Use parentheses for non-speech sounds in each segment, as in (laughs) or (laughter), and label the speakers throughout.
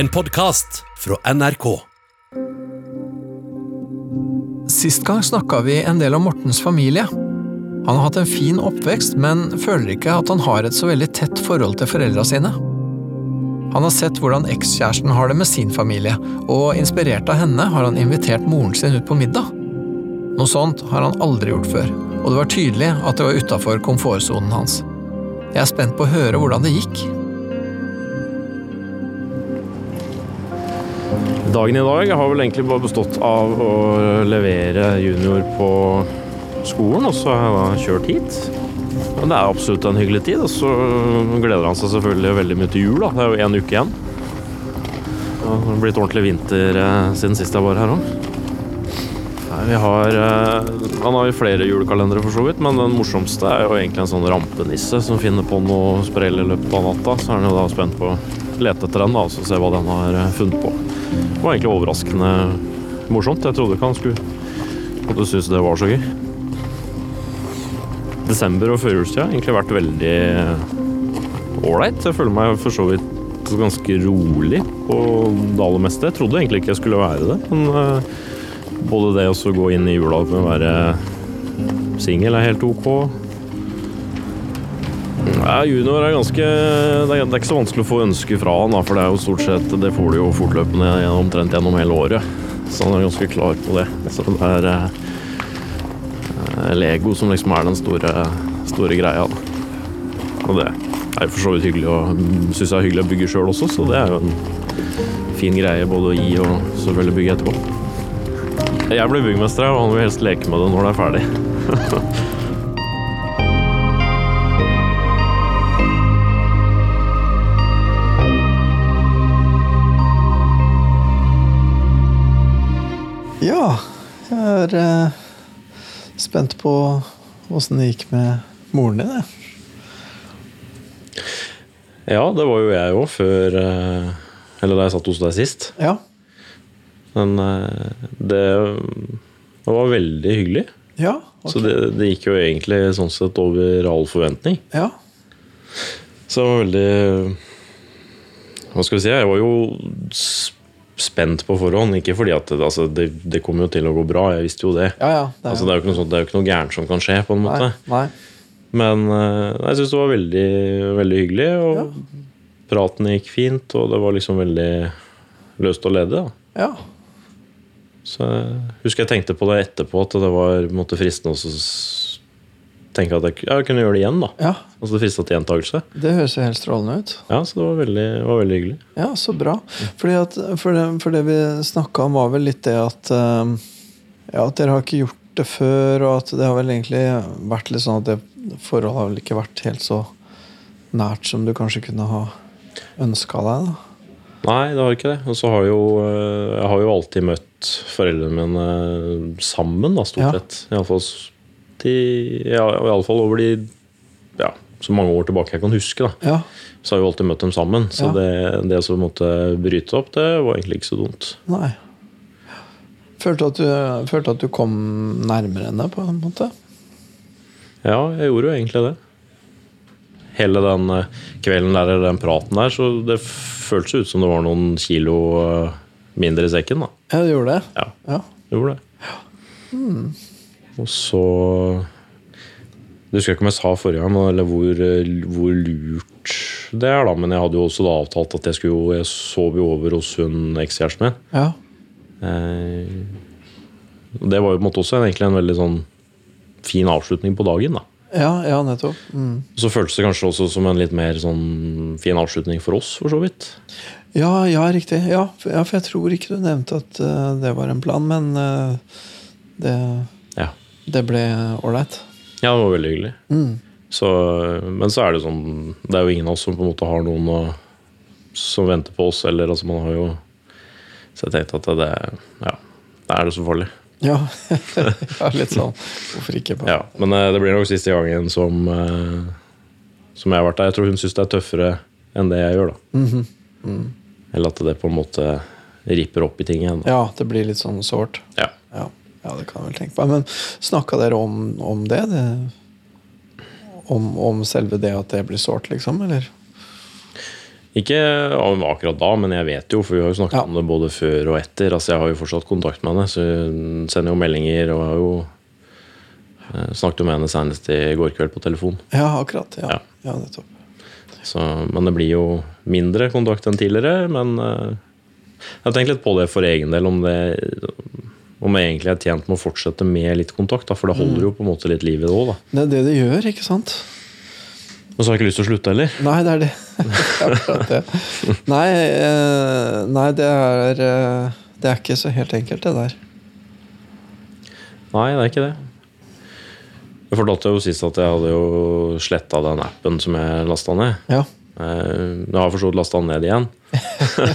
Speaker 1: En podkast fra NRK.
Speaker 2: Sist gang snakka vi en del om Mortens familie. Han har hatt en fin oppvekst, men føler ikke at han har et så veldig tett forhold til foreldra sine. Han har sett hvordan ekskjæresten har det med sin familie, og inspirert av henne har han invitert moren sin ut på middag. Noe sånt har han aldri gjort før, og det var tydelig at det var utafor komfortsonen hans. Jeg er spent på å høre hvordan det gikk.
Speaker 3: Dagen i dag har vel egentlig bare bestått av å levere junior på skolen, og så har jeg da kjørt hit. Men det er absolutt en hyggelig tid, og så gleder han seg selvfølgelig veldig mye til jul. da. Det er jo én uke igjen. Og Det har blitt ordentlig vinter eh, siden sist jeg var her òg. Vi har eh, Han har jo flere julekalendere, for så vidt, men den morsomste er jo egentlig en sånn rampenisse som finner på noe sprell i løpet av natta. Så er han jo da spent på å lete etter den da, og så se hva den har eh, funnet på. Det var egentlig overraskende morsomt. Jeg trodde ikke han skulle at du syntes det var så gøy. Desember og førjulstida har egentlig vært veldig ålreit. Jeg føler meg for så vidt ganske rolig på det aller meste. Jeg trodde egentlig ikke jeg skulle være det, men eh, både det å så gå inn i jula med å være singel er helt ok. Ja, junior er ganske Det er det er ikke så vanskelig å få ønsker fra han, da, for det er jo stort sett Det får du jo fortløpende gjennom- omtrent gjennom hele året. Så han er ganske klar på det. Så det er eh, Lego som liksom er den store, store greia. Da. Og det er jo for så vidt hyggelig å Syns jeg er hyggelig å bygge sjøl også, så det er jo en fin greie både å gi og selvfølgelig bygge etterpå. Jeg blir byggmester, og han vil helst leke med det når det er ferdig.
Speaker 4: Ja, jeg er eh, spent på åssen det gikk med moren din. jeg.
Speaker 3: Ja, det var jo jeg òg før eh, Eller da jeg satt hos deg sist.
Speaker 4: Ja.
Speaker 3: Men eh, det, det var veldig hyggelig.
Speaker 4: Ja. ok.
Speaker 3: Så det, det gikk jo egentlig sånn sett over all forventning.
Speaker 4: ja.
Speaker 3: Så det var veldig Hva skal vi si? Jeg var jo s- spent på forhånd. Ikke fordi at det, altså, det, det kom jo til å gå bra, jeg visste jo det.
Speaker 4: Ja, ja. Det er,
Speaker 3: Altså, det, er jo ikke noe sånt, det er jo ikke noe gærent som kan skje, på en måte.
Speaker 4: nei, nei.
Speaker 3: Men eh, jeg syns det var veldig, veldig hyggelig, og praten gikk fint, og det var liksom veldig løst og ledig. da.
Speaker 4: Ja.
Speaker 3: Så jeg husker jeg tenkte på det etterpå, at det var på en måte, fristende også å s- tenke at jeg, k- ja, jeg kunne gjøre det igjen. da.
Speaker 4: ja.
Speaker 3: Altså Det frista til gjentakelse.
Speaker 4: Det høres jo helt strålende ut.
Speaker 3: Ja, så det var veldig, var veldig hyggelig.
Speaker 4: Ja, så bra. Fordi at, for, det, for det vi snakka om, var vel litt det at eh, Ja, at dere har ikke gjort det før, og at det har vel egentlig vært litt sånn at det forholdet har vel ikke vært helt så nært som du kanskje kunne ha ønska deg, da.
Speaker 3: Nei, det har ikke det. Og så har jo eh, jeg har jo alltid møtt foreldrene mine eh, sammen, da, stort
Speaker 4: Ja.
Speaker 3: sett. Iallfall de, ja, i alle fall over de ja, så mange år tilbake jeg kan huske. da.
Speaker 4: Ja.
Speaker 3: Så har vi alltid møtt dem sammen. Så
Speaker 4: Ja.
Speaker 3: det, det som måtte bryte opp, det var egentlig ikke så dumt.
Speaker 4: Nei. Følte at, du, følte at du kom nærmere henne, på en måte?
Speaker 3: Ja, jeg gjorde jo egentlig det. Hele den eh, kvelden der, eller den praten der, så det føltes ut som det var noen kilo eh, mindre i sekken, da.
Speaker 4: Ja, du gjorde det?
Speaker 3: Ja,
Speaker 4: Ja.
Speaker 3: det gjorde det. Og så Jeg husker ikke om jeg sa forrige gang, men- eller hvor, eh, hvor lurt det er, da. Men jeg hadde jo også da avtalt at jeg skulle jo Jeg sov jo over hos hun ekskjæresten min.
Speaker 4: ja.
Speaker 3: Eh, og det var jo på en måte også en, egentlig en veldig sånn fin avslutning på dagen. da.
Speaker 4: Ja, ja nettopp. Mm.
Speaker 3: Og så føltes det kanskje også som en litt mer sånn fin avslutning for oss, for så vidt.
Speaker 4: Ja, ja, riktig. Ja, for, ja, for jeg tror ikke du nevnte at eh, det var en plan, men eh, det,
Speaker 3: Ja,
Speaker 4: det ble ålreit.
Speaker 3: ja det var veldig hyggelig.
Speaker 4: Mm.
Speaker 3: Så, men så er det sånn Det er jo ingen av oss som på en måte har noen å, som venter på oss, eller altså man har jo Så jeg tenkte at det Ja, da er det så farlig.
Speaker 4: Ja. (laughs) ja, litt sånn Hvorfor ikke? På?
Speaker 3: Ja, Men eh, det blir nok siste gangen som, eh, som jeg har vært der. Jeg tror hun syns det er tøffere enn det jeg gjør, da.
Speaker 4: Mhm.
Speaker 3: Eller at det på en måte ripper opp i ting igjen. da.
Speaker 4: ja, det blir litt sånn sårt.
Speaker 3: Ja.
Speaker 4: Ja. ja, det kan jeg vel tenke meg. Men snakka dere om, om det? det? Om, om selve det at det blir sårt, liksom? Eller?
Speaker 3: Ikke av- akkurat da, men jeg vet jo, for vi har jo snakket
Speaker 4: Ja.
Speaker 3: om det både før og etter. Altså, jeg har jo fortsatt kontakt med henne, så hun sender jo meldinger og har jo eh, Snakket jo med henne senest i går kveld på telefon.
Speaker 4: Ja, akkurat. Ja,
Speaker 3: Ja.
Speaker 4: ja. nettopp.
Speaker 3: Så, men det blir jo mindre kontakt enn tidligere. Men eh, jeg har tenkt litt på det for egen del, om, det, om jeg egentlig er tjent med å fortsette med litt kontakt. Da, for det holder jo på en måte litt liv i det òg, da.
Speaker 4: Det er det det gjør, ikke sant?
Speaker 3: Men så har jeg ikke lyst til å slutte heller.
Speaker 4: Nei, det (laughs) er det. Det er akkurat det. Nei, eh, nei det, er, eh, det er ikke så helt enkelt, det der.
Speaker 3: Nei, det er ikke det. Jeg fortalte jo sist at jeg hadde jo sletta den appen som jeg lasta ned.
Speaker 4: Ja.
Speaker 3: Eh, Jeg har forstått lasta den ned igjen.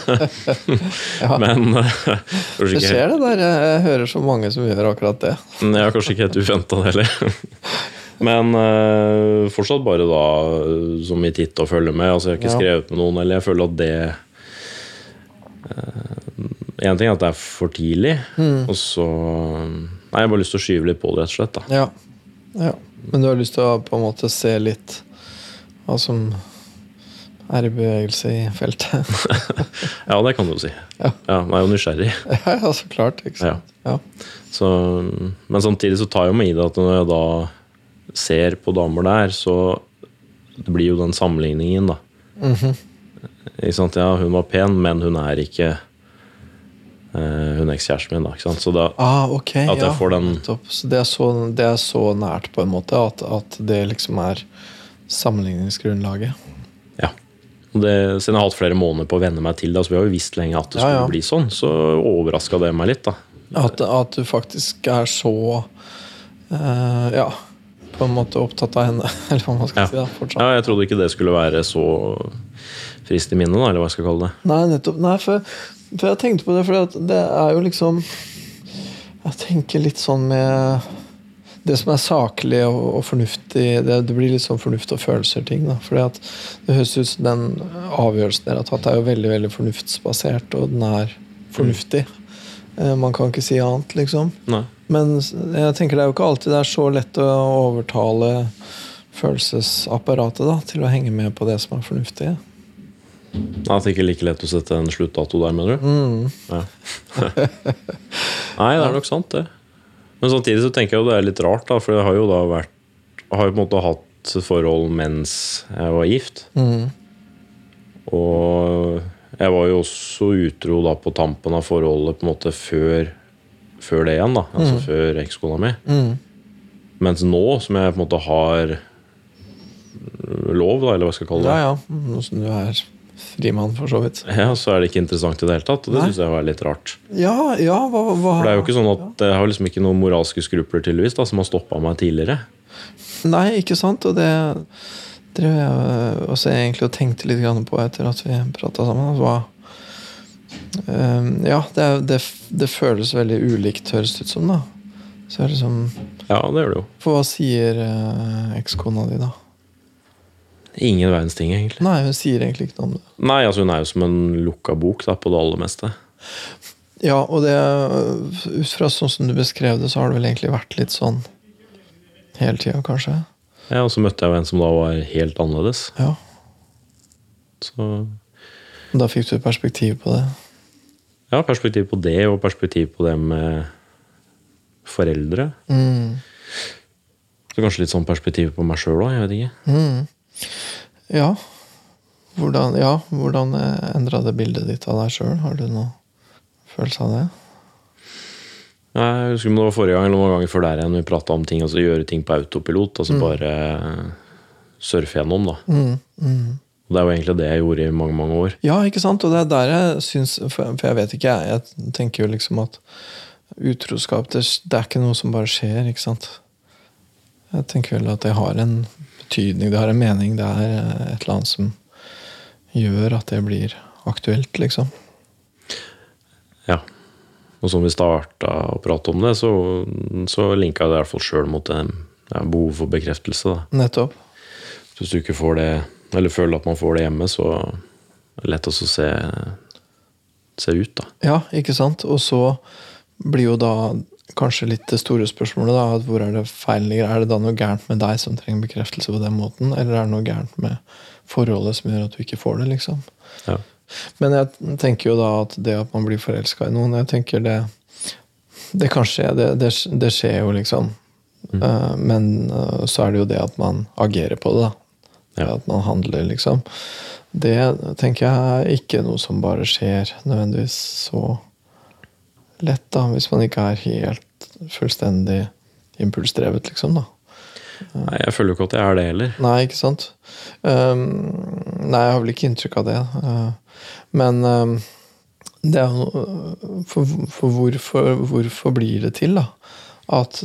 Speaker 4: Ja.
Speaker 3: Men eh, kanskje
Speaker 4: Du
Speaker 3: ikke,
Speaker 4: ser det der. Jeg jeg hører så mange som gjør akkurat det.
Speaker 3: helt- jeg har kanskje ikke helt uventa det heller. Men eh, fortsatt bare da eh, som i titt og følge med. Altså, jeg har ikke
Speaker 4: Ja.
Speaker 3: skrevet med noen, eller jeg føler at det Én ting er at det er for tidlig, og så Nei, jeg har bare lyst til å skyve litt på det, rett og slett. da
Speaker 4: Mm. Ja. ja. Men du har lyst til å på en måte se litt hva som er i bevegelse i feltet? (laughs)
Speaker 3: Ja, det kan du jo si.
Speaker 4: Ja.
Speaker 3: Ja. man er jo nysgjerrig.
Speaker 4: ja, ja, så klart. Ikke
Speaker 3: Ja.
Speaker 4: sant? Ja.
Speaker 3: Så, men samtidig så tar jeg jo meg i det at når jeg da ser på damer der, så det blir jo den sammenligningen, da.
Speaker 4: Mhm.
Speaker 3: Ikke sant? Ja, hun var pen, men hun er ikke eh, Hun er ekskjæresten min, da. Ikke sant? Så da
Speaker 4: Ah, ok.
Speaker 3: At jeg
Speaker 4: ja,
Speaker 3: får den-
Speaker 4: nettopp. Så det, er så det er så nært, på en måte, at, at det liksom er sammenligningsgrunnlaget.
Speaker 3: Ja. Og det, siden jeg har hatt flere måneder på å venne meg til det, altså vi har jo visst lenge at det
Speaker 4: Ja,
Speaker 3: skulle
Speaker 4: ja.
Speaker 3: bli sånn, så overraska det meg litt, da.
Speaker 4: At, at du faktisk er så eh, Ja, på en måte opptatt av henne, (laughs) eller hva man skal
Speaker 3: Ja.
Speaker 4: si. da, fortsatt.
Speaker 3: Ja, jeg trodde ikke det skulle være så frist i minnet, da, eller hva jeg skal kalle det.
Speaker 4: Nei, nettopp. Nei, for, for jeg tenkte på det, for at det er jo liksom Jeg tenker litt sånn med det som er saklig og, og fornuftig det, det blir litt sånn fornuft og følelser-ting. da, fordi at Det høres ut som den avgjørelsen dere har tatt, er jo veldig veldig fornuftsbasert, og den er fornuftig.
Speaker 3: Mm.
Speaker 4: Eh, Man kan ikke si annet, liksom.
Speaker 3: Nei.
Speaker 4: Men s- jeg tenker det er jo ikke alltid det er så lett å overtale følelsesapparatet da, til å henge med på det som er fornuftig.
Speaker 3: Nei, At det ikke er like lett å sette en sluttdato der, mener du?
Speaker 4: Mm.
Speaker 3: Ja. (laughs) Nei, det er nok sant, det. Men samtidig så tenker jeg jo det er litt rart, da, for jeg har jo da vært Har jo på en måte hatt et forhold mens jeg var gift.
Speaker 4: Mm.
Speaker 3: Og jeg var jo også utro da på tampen av forholdet på en måte før, før det igjen, da. Altså før ekskona mi.
Speaker 4: Mm.
Speaker 3: Mens nå, som jeg på en måte har lov, da, eller hva jeg skal kalle det,
Speaker 4: Ja, ja. Mm, Nå som du er frimann, for så vidt.
Speaker 3: ja, så er det ikke interessant i det hele tatt. Og det
Speaker 4: Nei.
Speaker 3: syns jeg var litt rart.
Speaker 4: Ja, ja, hva, hva
Speaker 3: For det er jo ikke sånn at Jeg har liksom ikke noen moralske skrupler tydeligvis da, som har stoppa meg tidligere.
Speaker 4: Nei, ikke sant? Og det drev jeg øh, også egentlig og tenkte litt grann på etter at vi prata sammen. at Hva Ehm, Ja, det, er, det, f- det føles veldig ulikt, høres det ut som, da. Så jeg liksom
Speaker 3: Ja, det gjør det jo.
Speaker 4: For hva sier eh, ekskona di, da?
Speaker 3: Ingen verdens ting, egentlig.
Speaker 4: Nei, hun sier egentlig ikke noe om det.
Speaker 3: Nei, altså hun er jo som en lukka bok da, på det aller meste.
Speaker 4: Ja, og det øh, ut fra sånn som du beskrev det, så har det vel egentlig vært litt sånn hele tida, kanskje?
Speaker 3: Ja, Og så møtte jeg jo en som da var helt annerledes.
Speaker 4: Ja.
Speaker 3: Så
Speaker 4: Da fikk du perspektiv på det.
Speaker 3: ja, perspektiv på det, og perspektiv på det med foreldre.
Speaker 4: Mm.
Speaker 3: Så kanskje litt sånn perspektiv på meg sjøl òg, jeg vet ikke.
Speaker 4: Mm. Ja. Hvordan, ja, hvordan endra det bildet ditt av deg sjøl? Har du noe følelse av det?
Speaker 3: Nei, Jeg husker om det var forrige gang eller noen ganger før der igjen vi prata om ting, altså gjøre ting på autopilot, altså bare surfe gjennom, da.
Speaker 4: Mm. Mm.
Speaker 3: Og det er jo egentlig det jeg gjorde i mange, mange år.
Speaker 4: Ja, ikke sant? Og det er der jeg syns For for jeg vet ikke, jeg. Jeg tenker jo liksom at utroskap det, det er ikke noe som bare skjer, ikke sant? Jeg tenker vel at det har en betydning, det har en mening. Det er eh, et eller annet som gjør at det blir aktuelt, liksom.
Speaker 3: Ja. Og som vi starta å prate om det, så, så linka jeg det i hvert fall sjøl mot det ja, behovet for bekreftelse. Da.
Speaker 4: Nettopp.
Speaker 3: Så Hvis du ikke får det, eller føler at man får det hjemme, så er det lett også å se, se ut, da.
Speaker 4: Ja, ikke sant? Og så blir jo da kanskje litt det store spørsmålet da, at hvor er det feilen ligger. Er det da noe gærent med deg som trenger bekreftelse på den måten, eller er det noe gærent med forholdet som gjør at du ikke får det, liksom?
Speaker 3: Ja.
Speaker 4: Men jeg tenker jo da at det at man blir forelska i noen Jeg tenker det Det kan skje, det, det, det skjer jo, liksom.
Speaker 3: Mm.
Speaker 4: Eh, men eh, så er det jo det at man agerer på det, da.
Speaker 3: Ja.
Speaker 4: At man handler, liksom. Det tenker jeg er ikke noe som bare skjer nødvendigvis så lett, da. Hvis man ikke er helt fullstendig impulsdrevet, liksom, da.
Speaker 3: Nei, jeg føler jo ikke at jeg er det heller.
Speaker 4: Nei, ikke sant? Ehm, nei, jeg har vel ikke inntrykk av det. eh, men ehm, det er jo noe- for, for hvorfor, hvorfor blir det til, da? At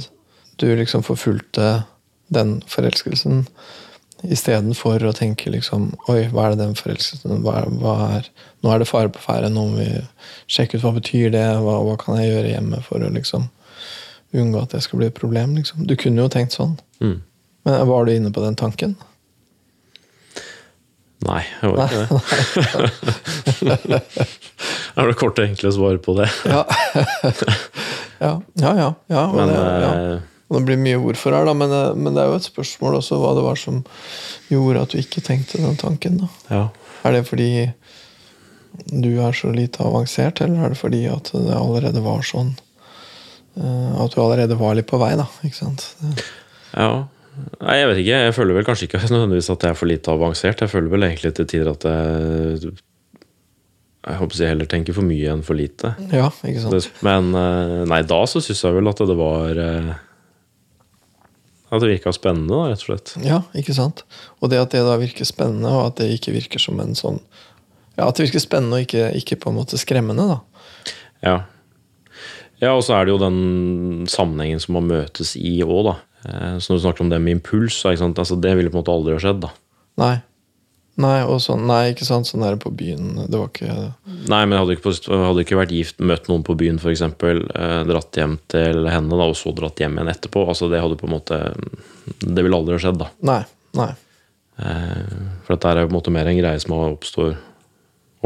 Speaker 4: du liksom forfulgte den forelskelsen istedenfor å tenke liksom Oi, hva er det den forelskelsen hva er, hva er, Nå er det fare på ferde, nå må vi sjekke ut hva betyr det, hva, hva kan jeg gjøre hjemme for å liksom unngå at det skal bli et problem, liksom. Du kunne jo tenkt sånn.
Speaker 3: Mm.
Speaker 4: Men var du inne på den tanken?
Speaker 3: Nei, jeg var ikke det. (laughs)
Speaker 4: (laughs)
Speaker 3: Det er det korte, enkle svaret på det.
Speaker 4: Ja. (laughs) ja, ja. ja, ja, og
Speaker 3: Men
Speaker 4: det, ja.
Speaker 3: eh,
Speaker 4: Og det blir mye hvorfor her, da, men, eh, men det er jo et spørsmål også hva det var som gjorde at du ikke tenkte den tanken. da.
Speaker 3: ja.
Speaker 4: Er det fordi du er så lite avansert, eller er det fordi at det allerede var sånn? eh, At du allerede var litt på vei, da. ikke sant? Det-
Speaker 3: ja. Nei, jeg vet ikke. Jeg føler vel kanskje ikke (laughs) nødvendigvis at jeg er for lite avansert. Jeg føler vel egentlig til tider at jeg Jeg håper jeg heller tenker for mye enn for lite.
Speaker 4: Ja, ikke sant?
Speaker 3: Det, men eh, nei, da så syns jeg vel at det var eh, At det virka spennende, da, rett og slett.
Speaker 4: Ja, ikke sant? Og det at det da virker spennende, og at det ikke virker som en sånn Ja, at det virker spennende og ikke, ikke på en måte skremmende, da.
Speaker 3: Ja. ja, og så er det jo den sammenhengen som man møtes i òg, da. Eh, Så når du snakker om det med impuls, så er det ikke sant? Altså, det ville på en måte aldri ha skjedd, da.
Speaker 4: Nei. Nei, og sånn, nei, ikke sant, sånn er det på byen. Det var ikke
Speaker 3: Nei, men jeg hadde ikke, på- jeg hadde ikke vært gift, møtt noen på byen f.eks., eh, dratt hjem til henne da, og så dratt hjem igjen etterpå. Altså, det hadde på en måte Det ville aldri ha skjedd, da.
Speaker 4: Nei. nei.
Speaker 3: Eh, For dette er jo på en måte mer en greie som oppstår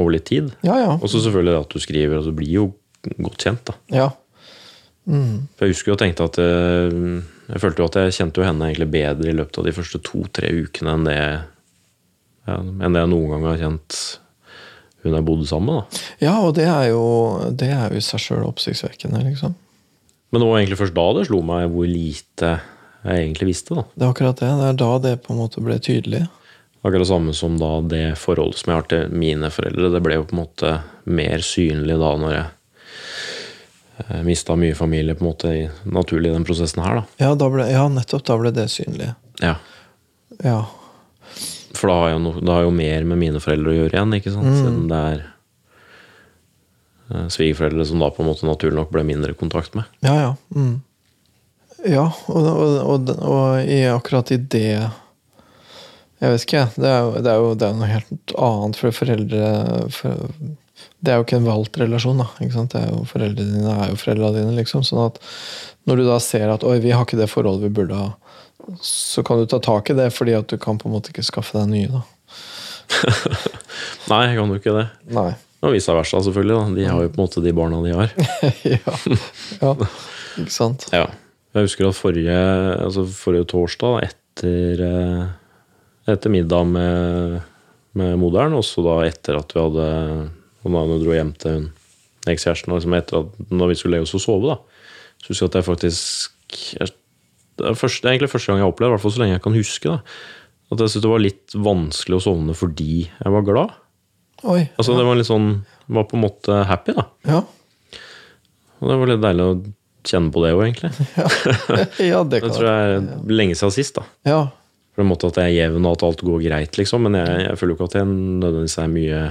Speaker 3: over litt tid.
Speaker 4: Ja, ja.
Speaker 3: Og så selvfølgelig at du skriver, og du blir jo godt kjent, da.
Speaker 4: ja.
Speaker 3: For jeg husker jo og tenkte at eh, Jeg følte jo at jeg kjente jo henne egentlig bedre i løpet av de første to-tre ukene enn det, ja, enn det jeg noen gang har kjent hun jeg bodde sammen med. da.
Speaker 4: Ja, og det er jo Det er jo i seg sjøl oppsiktsvekkende, liksom.
Speaker 3: Men det var egentlig først da det slo meg hvor lite jeg egentlig visste. da.
Speaker 4: Det er akkurat det. Det er da det på en måte ble tydelig.
Speaker 3: Akkurat det samme som da det forholdet som jeg har til mine foreldre. Det ble jo på en måte mer synlig da når jeg mista mye familie, på en måte i- naturlig i den prosessen her. da.
Speaker 4: Ja, da ble, ja nettopp. Da ble det synlig.
Speaker 3: Ja.
Speaker 4: Ja.
Speaker 3: For da har jeg jo, no, da har jeg jo mer med mine foreldre å gjøre igjen, ikke sant? Siden det er eh, svigerforeldre som da på en måte naturlig nok ble mindre kontakt med.
Speaker 4: Ja, ja. Mm. Ja, og, og, og, og i akkurat i det Jeg vet ikke, jeg. Det er jo, det er jo, det er jo noe helt annet for foreldre for, Det er jo ikke en valgt relasjon, da. Ikke sant? Det er jo foreldrene dine er jo foreldrene dine, liksom. Sånn at når du da ser at 'oi, vi har ikke det forholdet vi burde ha', så kan du ta tak i det, fordi at du kan på en måte ikke skaffe deg nye, da.
Speaker 3: Nei, jeg kan jo ikke det.
Speaker 4: Nei.
Speaker 3: Og vice versa, selvfølgelig. da. De har jo på en måte de barna de har.
Speaker 4: (laughs) ja. ja. Ikke sant?
Speaker 3: Ja. Jeg husker at forrige, altså forrige torsdag, da, etter, eh, etter middag med, med moderen, og så da etter at vi hadde Og da hun dro hjem til hun ekskjæresten, og liksom etter at når vi skulle legge oss og sove, da, så husker jeg at jeg faktisk jeg, det, er første, det er egentlig første gang jeg har opplevd, i hvert fall så lenge jeg kan huske, da, at jeg syntes det var litt vanskelig å sovne fordi jeg var glad.
Speaker 4: Oi.
Speaker 3: Altså det var litt sånn Var på en måte happy, da.
Speaker 4: Ja.
Speaker 3: Og det var litt deilig å kjenne på det òg, egentlig.
Speaker 4: (laughs) ja, det
Speaker 3: Det
Speaker 4: kan
Speaker 3: tror jeg er lenge siden sist, da.
Speaker 4: Ja.
Speaker 3: på en måte at jeg er jevn og at alt går greit, liksom. Men jeg, jeg føler jo ikke at jeg nødvendigvis er mye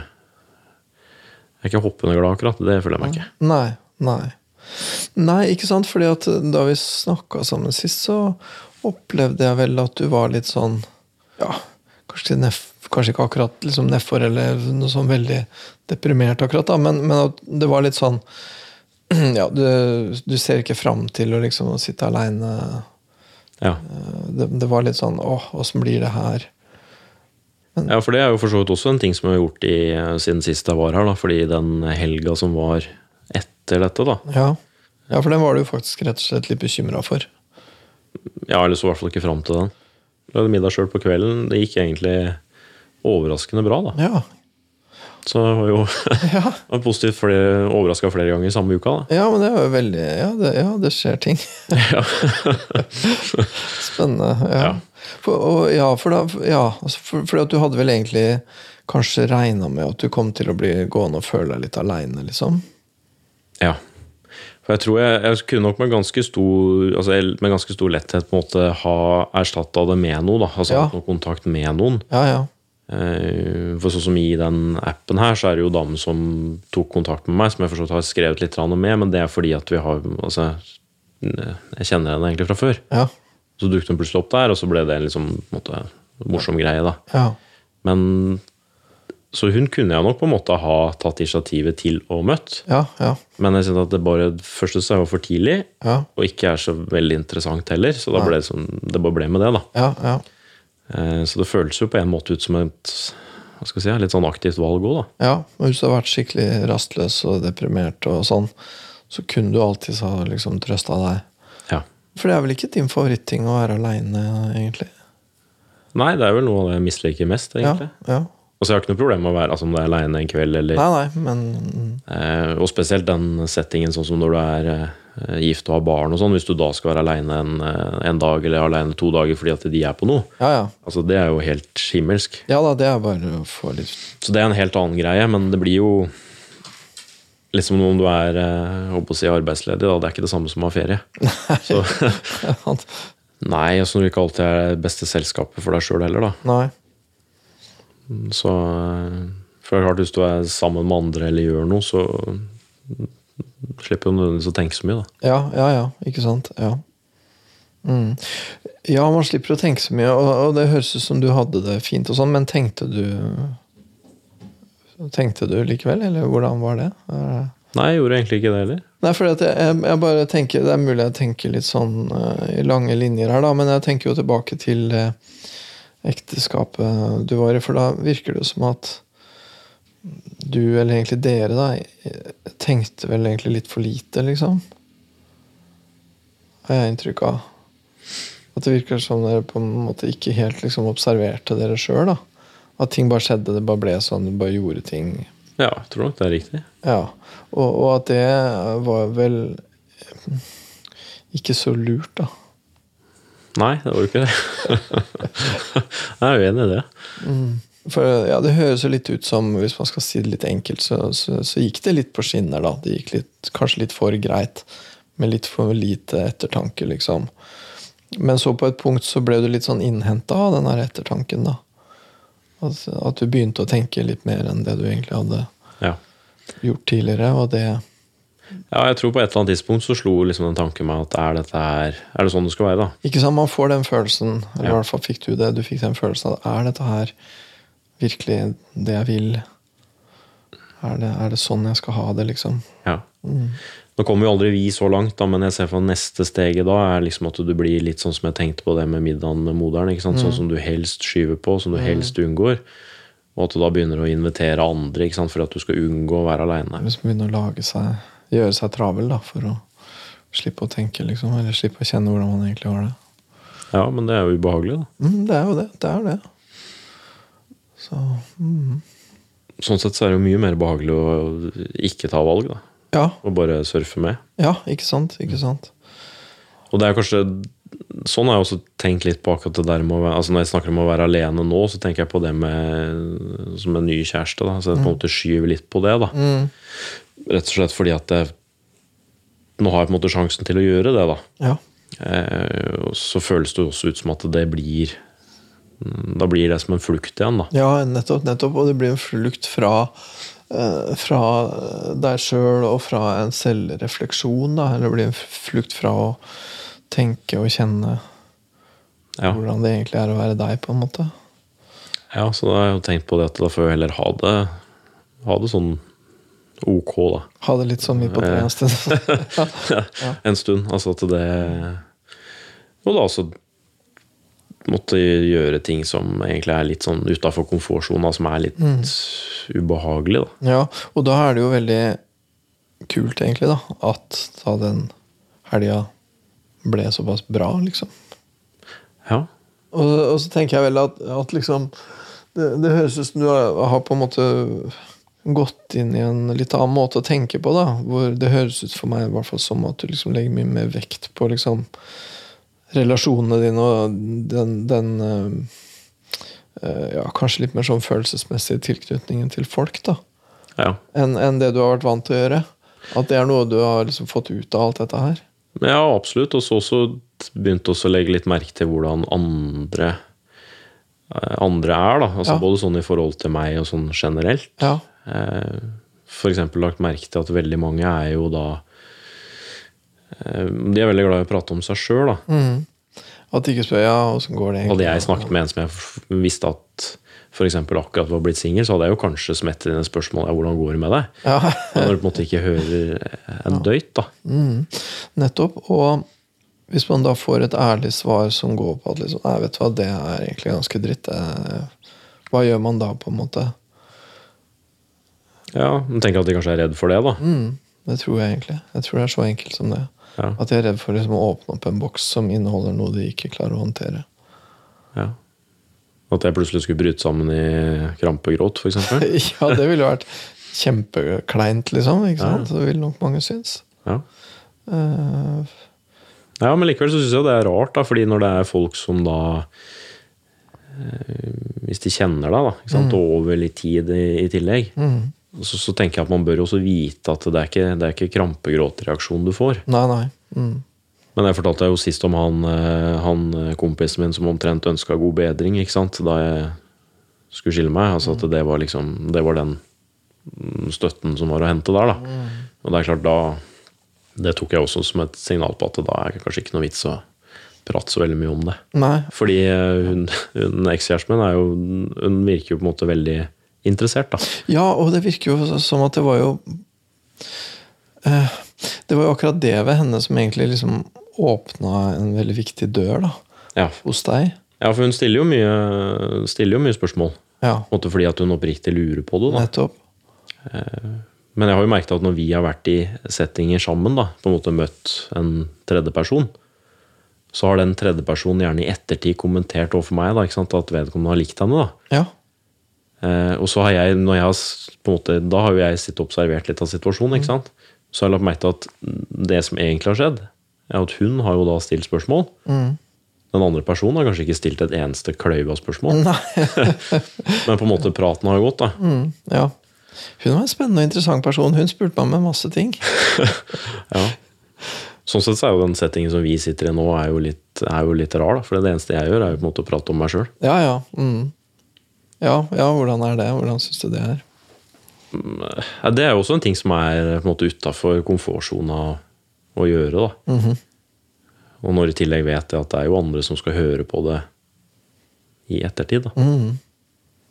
Speaker 3: Jeg er ikke hoppende glad, akkurat. Det føler jeg meg ikke.
Speaker 4: Nei, nei. Nei, ikke sant? Fordi at eh, da vi snakka sammen sist, så opplevde jeg vel at du var litt sånn Ja, kanskje, neff, kanskje ikke akkurat liksom nedfor eller noe sånn veldig deprimert, akkurat, da, men, men at det var litt sånn (clears throat) Ja, du, du ser ikke fram til å liksom å sitte aleine.
Speaker 3: Ja.
Speaker 4: Det, det var litt sånn Åh, åssen blir det her?
Speaker 3: ja, for det er jo for så vidt også en ting som jeg har gjort i, eh, siden sist jeg var her, da. Fordi den helga som var etter dette, da
Speaker 4: Ja. ja, for den var du faktisk rett og slett litt bekymra for.
Speaker 3: Jeg har lyst i hvert fall ikke fram til den. Lagde middag sjøl på kvelden. Det gikk egentlig overraskende bra, da.
Speaker 4: Ja.
Speaker 3: Så det var jo (laughs) var positivt flere, overraska flere ganger i samme uka.
Speaker 4: Ja, men det er jo veldig Ja, det, ja, det skjer ting. (laughs) Spennende. Ja.
Speaker 3: Ja.
Speaker 4: For, og, ja, for da ja, altså, for, fordi at du hadde vel egentlig kanskje regna med at du kom til å bli gående og føle deg litt aleine, liksom?
Speaker 3: Da. Ja. For jeg tror jeg, jeg kunne nok med ganske stor altså jeg- med ganske stor letthet på en måte ha erstatta det med noe. da, altså
Speaker 4: Ja.
Speaker 3: hatt noe kontakt med noen.
Speaker 4: Ja, ja.
Speaker 3: Eh, For sånn som i den appen her, så er det jo damen som tok kontakt med meg, som jeg forstått har skrevet litt grann med, men det er fordi at vi har altså, Jeg kjenner henne egentlig fra før.
Speaker 4: Ja.
Speaker 3: Så dukket hun plutselig opp der, og så ble det en liksom, på en måte, morsom greie, da.
Speaker 4: ja.
Speaker 3: Men Så hun kunne jeg nok på en måte ha tatt initiativet til og møtt,
Speaker 4: Ja, ja,
Speaker 3: men jeg kjente at det bare først og fremst var for tidlig,
Speaker 4: ja,
Speaker 3: og ikke er så veldig interessant heller, så da ble det, sånn, det bare ble med det, da.
Speaker 4: ja, ja,
Speaker 3: Eh, Så det føles jo på en måte ut som et hva skal jeg si, litt sånn aktivt valg òg, da.
Speaker 4: ja. Men hvis du har vært skikkelig rastløs og deprimert, og sånn, så kunne du alltid ha liksom, trøsta deg.
Speaker 3: Ja.
Speaker 4: For det er vel ikke din favoritting å være aleine, egentlig?
Speaker 3: Nei, det er vel noe av det jeg misliker mest,
Speaker 4: Ja,
Speaker 3: egentlig.
Speaker 4: ja.
Speaker 3: Altså, jeg har ikke noe problem med å være altså, om det er aleine en kveld, eller
Speaker 4: Nei, nei, men mm,
Speaker 3: eh, Og spesielt den settingen, sånn som når du er eh, gift og har barn og sånn, hvis du da skal være aleine en, eh, en dag eller aleine to dager fordi at de er på noe.
Speaker 4: Ja, ja.
Speaker 3: Altså, det er jo helt himmelsk.
Speaker 4: Ja da, det er bare å få litt (laughs)
Speaker 3: Så det er en helt annen greie, men det blir jo litt som om du er eh, holdt på å si arbeidsledig, da. Det er ikke det samme som å ha ferie. Så, nei, altså når du ikke alltid er det beste selskapet for deg sjøl heller, da.
Speaker 4: Nei.
Speaker 3: Så eh, for det er klart, hvis du er sammen med andre eller gjør noe, så mm, slipper du nødvendigvis å tenke så mye, da.
Speaker 4: Ja, ja, ja. Ikke sant? Ja. Mm. Ja, man slipper å tenke så mye, og, og det høres ut som du hadde det fint, og sånn, men tenkte du Tenkte du likevel, eller hvordan var det? Er det-
Speaker 3: Nei, jeg gjorde egentlig ikke det heller.
Speaker 4: Nei, for jeg, jeg, jeg bare tenker, Det er mulig jeg tenker litt sånn eh, i lange linjer her, da, men jeg tenker jo tilbake til eh, ekteskapet du var i. For da virker det jo som at du, eller egentlig dere, da, eh, tenkte vel egentlig litt for lite, liksom. Har jeg inntrykk av. At det virker som dere på en måte ikke helt liksom observerte dere sjøl. At ting bare skjedde, det bare ble sånn, du bare gjorde ting.
Speaker 3: Ja, jeg tror nok det er riktig.
Speaker 4: Ja, og, og at det var vel eh, ikke så lurt, da.
Speaker 3: Nei, det var jo ikke det. (laughs) jeg er uenig i det.
Speaker 4: For ja, Det høres jo litt ut som, hvis man skal si det litt enkelt, så, så, så gikk det litt på skinner. da. Det gikk litt, kanskje litt for greit, med litt for lite ettertanke, liksom. Men så på et punkt så ble du litt sånn innhenta av den her ettertanken, da. At, at du begynte å tenke litt mer enn det du egentlig hadde
Speaker 3: Ja.
Speaker 4: gjort tidligere. og det...
Speaker 3: Ja, jeg tror på et eller annet tidspunkt så slo liksom den tanken meg at er dette her Er det sånn det skal være, da?
Speaker 4: Ikke sant, Man får den følelsen, eller
Speaker 3: Ja.
Speaker 4: i hvert fall fikk du det. Du fikk den følelsen at er dette her virkelig det jeg vil? Er det, er det sånn jeg skal ha det, liksom?
Speaker 3: Ja. Nå kommer jo aldri vi så langt, da, men jeg ser for neste steget da er liksom at du blir litt sånn som jeg tenkte på det med middagen med moderen. ikke sant? Sånn som du helst skyver på, som du helst unngår. Og at du da begynner å invitere andre ikke sant? for at du skal unngå å være aleine.
Speaker 4: Hvis man begynner å lage seg, gjøre seg travel da, for å slippe å tenke, liksom. Eller slippe å kjenne hvordan man egentlig har det.
Speaker 3: Ja, men det er jo ubehagelig, da.
Speaker 4: Mm, det er jo det. Det er det. Så mm.
Speaker 3: Sånn sett så er det jo mye mer behagelig å ikke ta valg, da.
Speaker 4: ja,
Speaker 3: Og bare surfe med.
Speaker 4: ja, ikke sant? Ikke sant?
Speaker 3: Og det er kanskje Sånn har jeg også tenkt litt på akkurat det der med å være, altså Når jeg snakker om å være alene nå, så tenker jeg på det med som en ny kjæreste. da, Så jeg på en måte skyver litt på det. da
Speaker 4: Mm.
Speaker 3: Rett og slett fordi at jeg, nå har jeg på en måte sjansen til å gjøre det. da
Speaker 4: Ja.
Speaker 3: eh, og Så føles det jo også ut som at det blir Da blir det som en flukt igjen. da
Speaker 4: Ja, nettopp. nettopp. Og det blir en flukt fra, eh, fra deg sjøl og fra en selvrefleksjon. Da. Eller det blir en flukt fra å tenke og kjenne
Speaker 3: Ja,
Speaker 4: hvordan det egentlig er å være deg, på en måte.
Speaker 3: ja Så da har jeg jo tenkt på det at da får jeg heller ha det, ha det sånn ok, da.
Speaker 4: Ha det litt sånn midt på treet et sted.
Speaker 3: (laughs) en stund. Altså at det Og da også måtte gjøre ting som egentlig er litt sånn utafor komfortsona, som er litt ubehagelig, da.
Speaker 4: Ja, og da er det jo veldig kult, egentlig, da, at da den helga ble såpass bra, liksom.
Speaker 3: Ja.
Speaker 4: Og, og så tenker jeg vel at, at liksom det, det høres ut som du har har på en måte gått inn i en litt annen måte å tenke på. da, hvor Det høres ut for meg i hvert fall som at du liksom legger mye mer vekt på liksom relasjonene dine og den, den eh, eh, ja, Kanskje litt mer sånn følelsesmessige tilknytningen til folk da,
Speaker 3: Ja.
Speaker 4: enn enn det du har vært vant til å gjøre. At det er noe du har liksom fått ut av alt dette her.
Speaker 3: Ja, absolutt. Og så også begynte også å legge litt merke til hvordan andre eh, andre er, da. Altså
Speaker 4: Ja.
Speaker 3: Både sånn i forhold til meg og sånn generelt.
Speaker 4: Ja,
Speaker 3: Eh, For eksempel lagt merke til at veldig mange er jo da eh, De er veldig glad i å prate om seg sjøl, da.
Speaker 4: mhm. At de ikke spør ja, åssen går det
Speaker 3: Hadde jeg snakket med en som jeg f- visste at f.eks. akkurat var blitt singel, så hadde jeg jo kanskje smettet inn et spørsmål ja, hvordan går det med deg?
Speaker 4: Ja.
Speaker 3: Men Når du på en måte ikke hører en døyt, da.
Speaker 4: Mm, nettopp. Og hvis man da får et ærlig svar som går på at liksom, Nei, vet du hva, det er egentlig ganske dritt. eh, Hva gjør man da, på en måte?
Speaker 3: Ja, men Tenker at de kanskje er redd for det, da.
Speaker 4: Mm, det tror jeg egentlig. Jeg tror det er så enkelt som det.
Speaker 3: Ja.
Speaker 4: At de er redd for liksom, å åpne opp en boks som inneholder noe de ikke klarer å håndtere.
Speaker 3: Ja. At jeg plutselig skulle bryte sammen i krampegråt, f.eks.
Speaker 4: (laughs) ja, det ville jo vært kjempekleint, liksom. Ikke sant? Det vil nok mange synes.
Speaker 3: Ja.
Speaker 4: Eh,
Speaker 3: ja, men likevel så syns jeg det er rart, da, fordi når det er folk som da eh, Hvis de kjenner deg, da, ikke sant? og over litt tid i, i tillegg, så, så tenker jeg at man bør jo også vite at det er ikke, det er ikke krampegråtreaksjon du får.
Speaker 4: nei, nei. Mm.
Speaker 3: Men jeg fortalte deg jo sist om han, eh, han eh, kompisen min som omtrent ønska god bedring, ikke sant, da jeg skulle skille meg. Altså at det var liksom Det var den mm, støtten som var å hente der, da. Og det er klart, da Det tok jeg også som et signal på at da er det kanskje ikke noe vits å prate så veldig mye om det.
Speaker 4: nei.
Speaker 3: Fordi eh, hun, hun ekskjæresten min er jo Hun virker jo på en måte veldig interessert, da.
Speaker 4: Ja, og det virker jo som at det var jo eh, Det var jo akkurat det ved henne som egentlig liksom åpna en veldig viktig dør da,
Speaker 3: Ja,
Speaker 4: hos deg.
Speaker 3: ja for hun stiller jo mye, stiller jo mye spørsmål.
Speaker 4: Ja,
Speaker 3: På en måte fordi at hun oppriktig lurer på det. da.
Speaker 4: nettopp.
Speaker 3: Men jeg har jo merket at når vi har vært i settinger sammen, da, på en måte møtt en tredjeperson, så har den tredjepersonen gjerne i ettertid kommentert overfor meg da, ikke sant, at vedkommende har likt henne. da.
Speaker 4: Ja.
Speaker 3: Eh, og så har jeg, når jeg har, s- på en måte, Da har jo jeg sittet og observert litt av situasjonen. ikke sant? Så har jeg lagt merke til at det som egentlig har skjedd, er at hun har jo da stilt spørsmål. Den andre personen har kanskje ikke stilt et eneste kløyva spørsmål. (laughs) Men på en måte praten har jo gått, da.
Speaker 4: Mm, ja. Hun var en spennende og interessant person. Hun spurte meg om en masse ting.
Speaker 3: Sånn sett så er jo den settingen som vi sitter i nå, er jo litt, er jo litt rar. Da. For det eneste jeg gjør, er jo på en måte å prate om meg sjøl.
Speaker 4: Ja, ja. Mm. Ja, ja, hvordan er det? Hvordan syns du det er?
Speaker 3: Det er jo også en ting som er på en måte utafor komfortsona å gjøre, da. Og når i tillegg vet jeg at det er jo andre som skal høre på det i ettertid, da.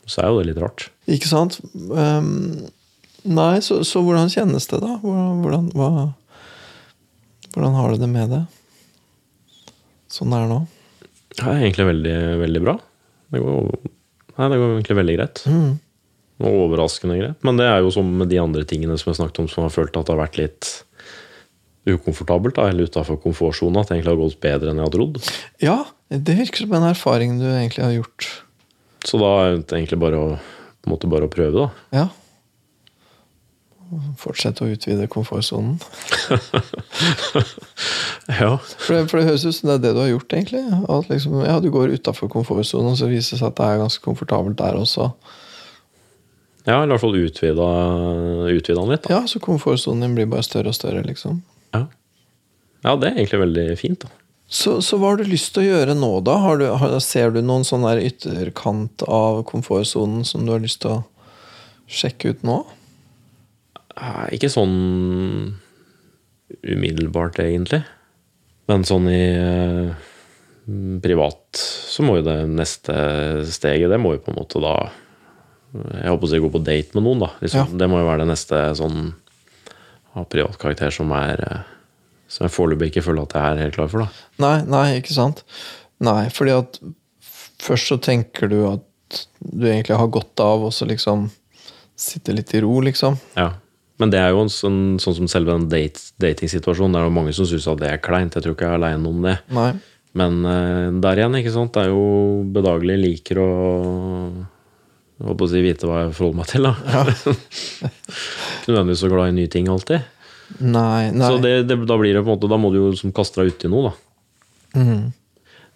Speaker 3: Så er jo det litt rart.
Speaker 4: Ikke sant? Ehm, nei, så, så hvordan kjennes det, da? Hvordan, hvordan, hva, hvordan har du det med det? Sånn det er nå?
Speaker 3: Det er egentlig veldig, veldig bra. Det går, nei, det går egentlig veldig greit. Og overraskende greit. Men det er jo som med de andre tingene som jeg snakket om, som har følt at det har vært litt ukomfortabelt, da, eller utafor komfortsona. At det egentlig har gått bedre enn jeg hadde trodd.
Speaker 4: Ja, det virker som en erfaring du egentlig har gjort.
Speaker 3: Så da er det egentlig bare å, på en måte bare å prøve, da.
Speaker 4: Ja. Fortsette å utvide komfortsonen.
Speaker 3: Ja.
Speaker 4: For det, for det høres ut som det er det du har gjort, egentlig. At liksom, ja, du går utafor komfortsonen, og så viser det seg at det er ganske komfortabelt der også.
Speaker 3: ja eller i hvert fall utvida, utvida den litt, da.
Speaker 4: Ja, så komfortsonen din blir bare større og større, liksom.
Speaker 3: Ja. ja, det er egentlig veldig fint, da.
Speaker 4: Så, så hva har du lyst til å gjøre nå, da? Har du, har, ser du noen sånn der ytterkant av komfortsonen som du har lyst til å sjekke ut nå?
Speaker 3: Eh, Ikke sånn umiddelbart, egentlig. Men sånn i eh, privat så må jo det neste steget, det må jo på en måte da Jeg håper å si gå på date med noen, da. Liksom. Det må jo være det neste sånn av privat karakter som er eh, som jeg foreløpig ikke føler at jeg er helt klar for. da.
Speaker 4: Nei, nei, ikke sant? Nei, fordi at først så tenker du at du egentlig har godt av å så liksom sitte litt i ro, liksom.
Speaker 3: Ja. Men det er jo en sånn, sånn som selve den date, datingsituasjonen. Det er jo mange som syns at det er kleint. Jeg tror ikke jeg er aleine om det.
Speaker 4: Nei.
Speaker 3: Men eh, der igjen, ikke sant, det er jo bedagelig liker å Jeg håper å si vite hva jeg forholder meg til, da. (laughs) Ikke nødvendigvis så glad i nye ting alltid.
Speaker 4: Nei, nei.
Speaker 3: Så det, det, da blir det på en måte Da må du jo liksom kaste deg uti noe, da.
Speaker 4: Mhm.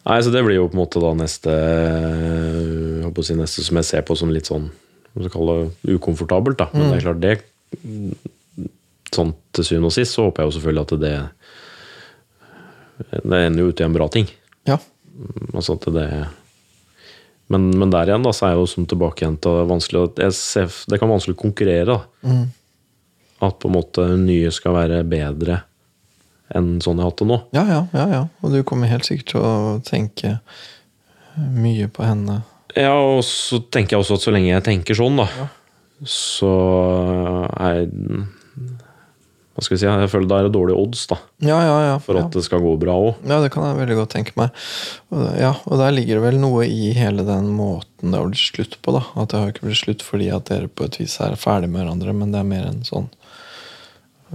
Speaker 3: Nei, så det blir jo på en måte da neste jeg håper å si neste som jeg ser på som litt sånn hva skal jeg kalle det, ukomfortabelt, da.
Speaker 4: Mm.
Speaker 3: Men det er klart, det sånn til syvende og sist så håper jeg jo selvfølgelig at det det ender jo ut i en bra ting.
Speaker 4: Ja.
Speaker 3: Altså at det men, men der igjen da, så er jeg jo som tilbake igjen til vanskelig at jeg ser, Det kan vanskelig konkurrere. da.
Speaker 4: Mm.
Speaker 3: At på en måte nye skal være bedre enn sånn jeg har hatt det nå.
Speaker 4: Ja, ja, ja, ja. Og du kommer helt sikkert til å tenke mye på henne.
Speaker 3: Ja, og så tenker jeg også at så lenge jeg tenker sånn, da, så er Hva skal vi si? Jeg føler da er det dårlige odds da,
Speaker 4: Ja, ja, ja.
Speaker 3: for
Speaker 4: ja.
Speaker 3: at det skal gå bra òg.
Speaker 4: Ja, det kan jeg veldig godt tenke meg. Og, ja, og der ligger det vel noe i hele den måten det har blitt slutt på. da. At det har ikke blitt slutt fordi at dere på et vis er ferdig med hverandre, men det er mer en sånn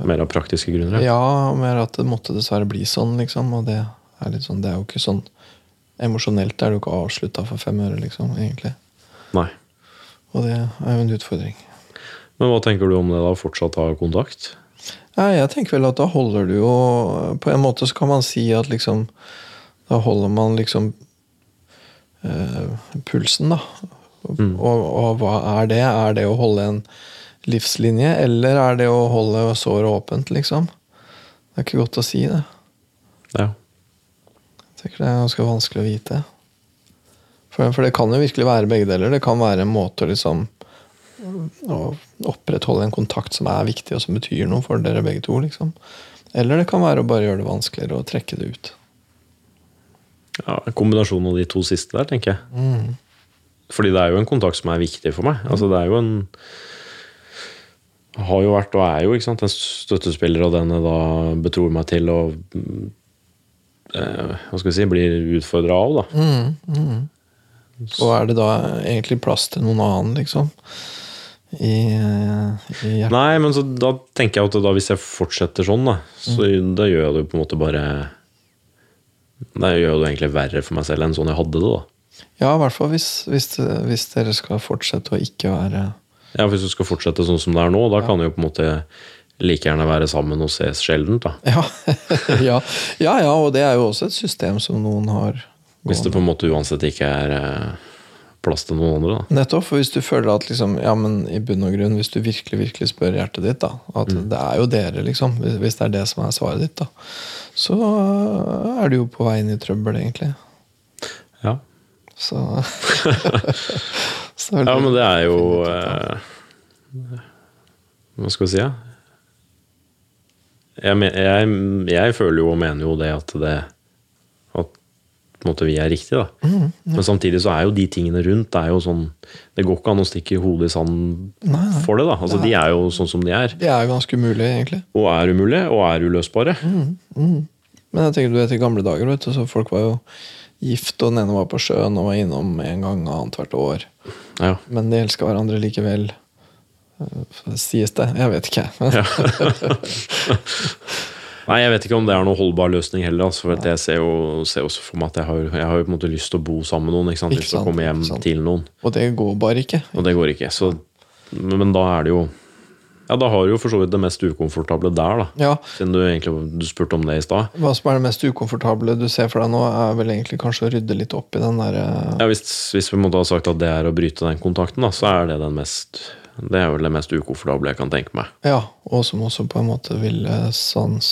Speaker 3: Mer av praktiske grunner.
Speaker 4: Ja, og mer at det måtte dessverre bli sånn, liksom. Og det er litt sånn, det er jo ikke sånn Emosjonelt er det jo ikke avslutta for fem øre, liksom, egentlig.
Speaker 3: Nei.
Speaker 4: Og det er jo en utfordring.
Speaker 3: Men hva tenker du om det, da? Fortsatt ha kontakt?
Speaker 4: Nei, jeg tenker vel at da holder du jo På en måte så kan man si at liksom Da holder man liksom eh, pulsen, da.
Speaker 3: Mm.
Speaker 4: Og, og hva er det? Er det å holde en livslinje, eller er det å holde såret åpent, liksom? Det er ikke godt å si det.
Speaker 3: Ja.
Speaker 4: Jeg tenker det er ganske vanskelig å vite. For, for det kan jo virkelig være begge deler. Det kan være en måte å liksom å opprettholde en kontakt som er viktig, og som betyr noe for dere begge to. liksom. Eller det kan være å bare gjøre det vanskeligere og trekke det ut.
Speaker 3: ja Kombinasjonen av de to siste der, tenker jeg. Fordi det er jo en kontakt som er viktig for meg. Altså, det er jo en Har jo vært og er jo ikke sant? en støttespiller, og den jeg da betror meg til og mm, eh, Hva skal vi si blir utfordra av, da.
Speaker 4: Og er det da egentlig plass til noen annen, liksom? I, eh, i hjertet?
Speaker 3: Nei, men så da tenker jeg at da hvis jeg fortsetter sånn, da, så da gjør jeg det jo på en måte bare Da gjør jeg det jo egentlig verre for meg selv enn sånn jeg hadde det, da.
Speaker 4: Ja, i hvert fall hvis, hvis, hvis dere skal fortsette å ikke være (laughs)
Speaker 3: Ja, Hvis du skal fortsette sånn som det er nå, da kan det jo på en måte like gjerne være sammen og ses sjeldent, da.
Speaker 4: ja. (laughs) ja, ja, ja, og det er jo også et system som noen har
Speaker 3: Hvis det på en måte uansett ikke er eh, plass til noen andre, da.
Speaker 4: Nettopp, for hvis du føler at liksom, ja, men i bunn og grunn, hvis du virkelig virkelig spør hjertet ditt, da, at
Speaker 2: Mm.
Speaker 3: Mm.
Speaker 4: det er jo dere, liksom, hvis- hvis det er det som er svaret ditt, da, så øh, er du jo på vei inn i trøbbel, egentlig.
Speaker 3: Ja,
Speaker 4: Så, (laughs) så er det-
Speaker 3: ja men det er jo eh, Hva skal vi si, ja? Jeg, men, jeg, jeg føler jo og mener jo det at det At på en måte vi er riktig, da.
Speaker 4: Mm,
Speaker 3: Men samtidig så er jo de tingene rundt Det er jo sånn Det går ikke an å stikke hodet i sanden
Speaker 4: Nei, nei.
Speaker 3: for det, da. Altså, de er jo sånn som de er.
Speaker 4: Det er jo ganske umulig, egentlig.
Speaker 3: Og er umulige, og er uløsbare.
Speaker 4: Men jeg tenker du vet i gamle dager, vet du, så folk var jo gift, og den ene var på sjøen og var innom en gang annethvert år.
Speaker 3: Ja.
Speaker 4: Men de elska hverandre likevel, øh, sies det. Jeg vet ikke, (laughs) jeg.
Speaker 3: Nei, jeg vet ikke om det er noen holdbar løsning heller. Altså, for at jeg ser jo, ser også for meg at jeg har, jeg har jo på en måte lyst til å bo sammen med noen. Ikke sant?
Speaker 4: Ikke
Speaker 3: lyst til å
Speaker 4: sant,
Speaker 3: komme hjem
Speaker 4: ikke sant.
Speaker 3: til noen.
Speaker 4: Og det går bare ikke.
Speaker 3: Og det går ikke. Så, men, men da er det jo Ja, da har du jo for så vidt det mest ukomfortable der, da.
Speaker 4: Ja,
Speaker 3: Siden du egentlig du spurte om det i stad.
Speaker 4: Hva som er det mest ukomfortable du ser for deg nå, er vel egentlig kanskje å rydde litt opp i den der eh,
Speaker 3: Ja, hvis, hvis vi måtte ha sagt at det er å bryte den kontakten, da, så er det den mest Det er vel det mest ukomfortable jeg kan tenke meg.
Speaker 4: Ja, og som også på en måte vil eh, sans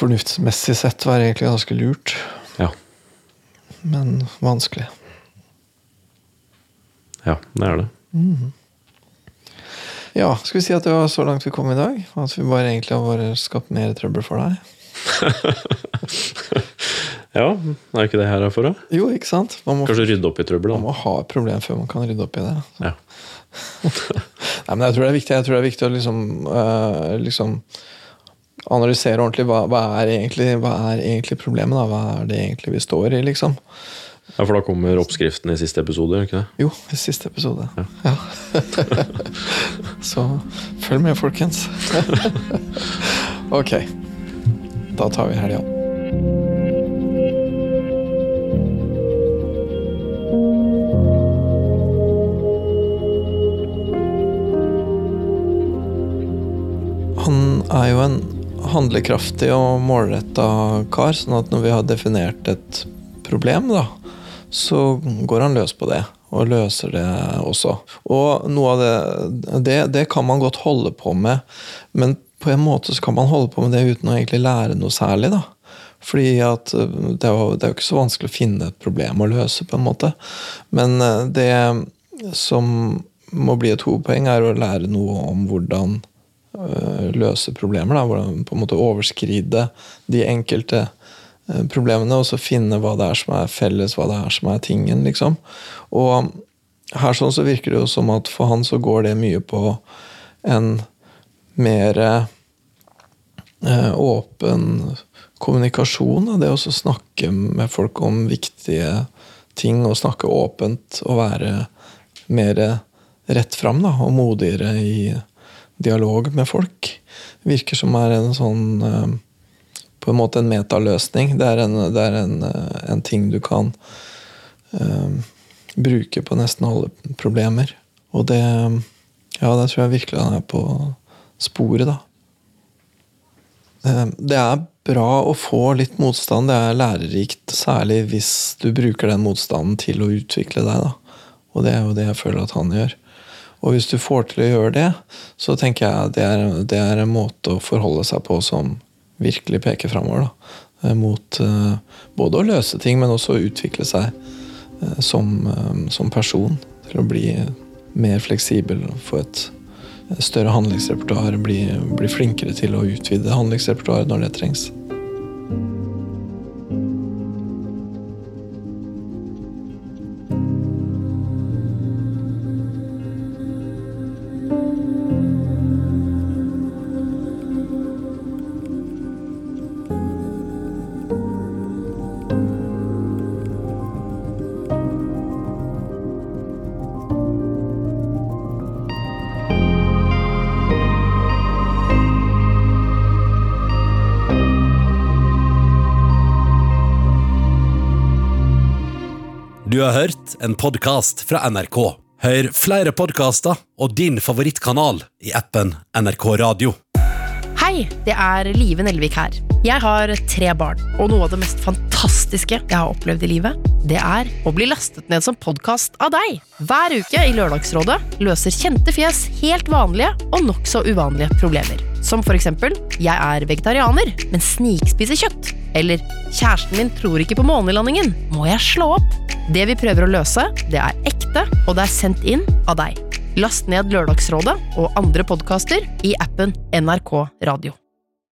Speaker 4: Fornuftsmessig sett være egentlig ganske lurt,
Speaker 3: Ja.
Speaker 4: men vanskelig.
Speaker 3: ja det er det.
Speaker 4: Ja, skal vi si at det var så langt vi kom i dag? At vi bare egentlig har bare skapt mer trøbbel for deg?
Speaker 3: Ja, er ikke det her er for, da?
Speaker 4: Jo, ikke sant? Man må,
Speaker 3: Kanskje rydde opp i trøbbel,
Speaker 4: man
Speaker 3: da.
Speaker 4: må ha et problem før man kan rydde opp i det.
Speaker 3: Ja.
Speaker 4: (laughs) Nei, men jeg tror det er viktig, jeg tror det er viktig å liksom, øh, liksom analysere ordentlig hva, hva, er egentlig, hva er egentlig problemet. da? Hva er det egentlig vi står i, liksom?
Speaker 3: Ja, for da kommer oppskriften i siste episode, gjør ikke det?
Speaker 4: Jo, i siste episode. Ja. (laughs) Så følg med, folkens. (laughs) ok. Da tar vi helga. han er jo en handlekraftig og målretta kar, sånn at når vi har definert et problem, da, så går han løs på det. Og løser det også. Og noe av det, det Det kan man godt holde på med, men på en måte så kan man holde på med det uten å egentlig lære noe særlig, da. Fordi at eh, det er, jo, det er jo ikke så vanskelig å finne et problem å løse, på en måte. Men eh, det som må bli et hovedpoeng, er å lære noe om hvordan eh, løse problemer. Da, hvordan på en måte overskride de enkelte eh, problemene, og så finne hva det er som er felles, hva det er som er tingen, liksom. Og her sånn så virker det jo som at for han så går det mye på en mer eh, eh, åpen kommunikasjon. da. Det å så snakke med folk om viktige ting, og snakke åpent og være mer rett fram da, og modigere i dialog med folk. Virker som er en sånn eh, på en måte en metaløsning. Det er en, det er en, eh, en ting du kan eh, bruke på nesten alle problemer. Og det Ja, der tror jeg virkelig han er på sporet, da. Eh, Det er bra å få litt motstand. Det er lærerikt, særlig hvis du bruker den motstanden til å utvikle deg. Da. Og det er jo det jeg føler at han gjør. Og hvis du får til å gjøre det, så tenker jeg det er, det er en måte å forholde seg på som virkelig peker framover. da. Eh, Mot eh, både å løse ting, men også å utvikle seg eh, som, eh, som person. Til å bli mer fleksibel, få et større handlingsrepertoar, bli, bli flinkere til å utvide handlingsrepertoaret når det trengs.
Speaker 1: Du har hørt en podcast fra NRK. Hør flere podcaster og din favorittkanal i appen NRK Radio.
Speaker 5: Hei, det er Live Nelvik her. Jeg har tre barn, og noe av det mest fantastiske jeg har opplevd i livet, det er å bli lastet ned som podkast av deg. Hver uke i Lørdagsrådet løser kjente fjes helt vanlige og nokså uvanlige problemer. Som for eksempel Jeg er vegetarianer, men snikspiser kjøtt. Eller Kjæresten min tror ikke på månelandingen. Må jeg slå opp? Det vi prøver å løse, det er ekte, og det er sendt inn av deg. Last ned Lørdagsrådet og andre podkaster i appen NRK Radio.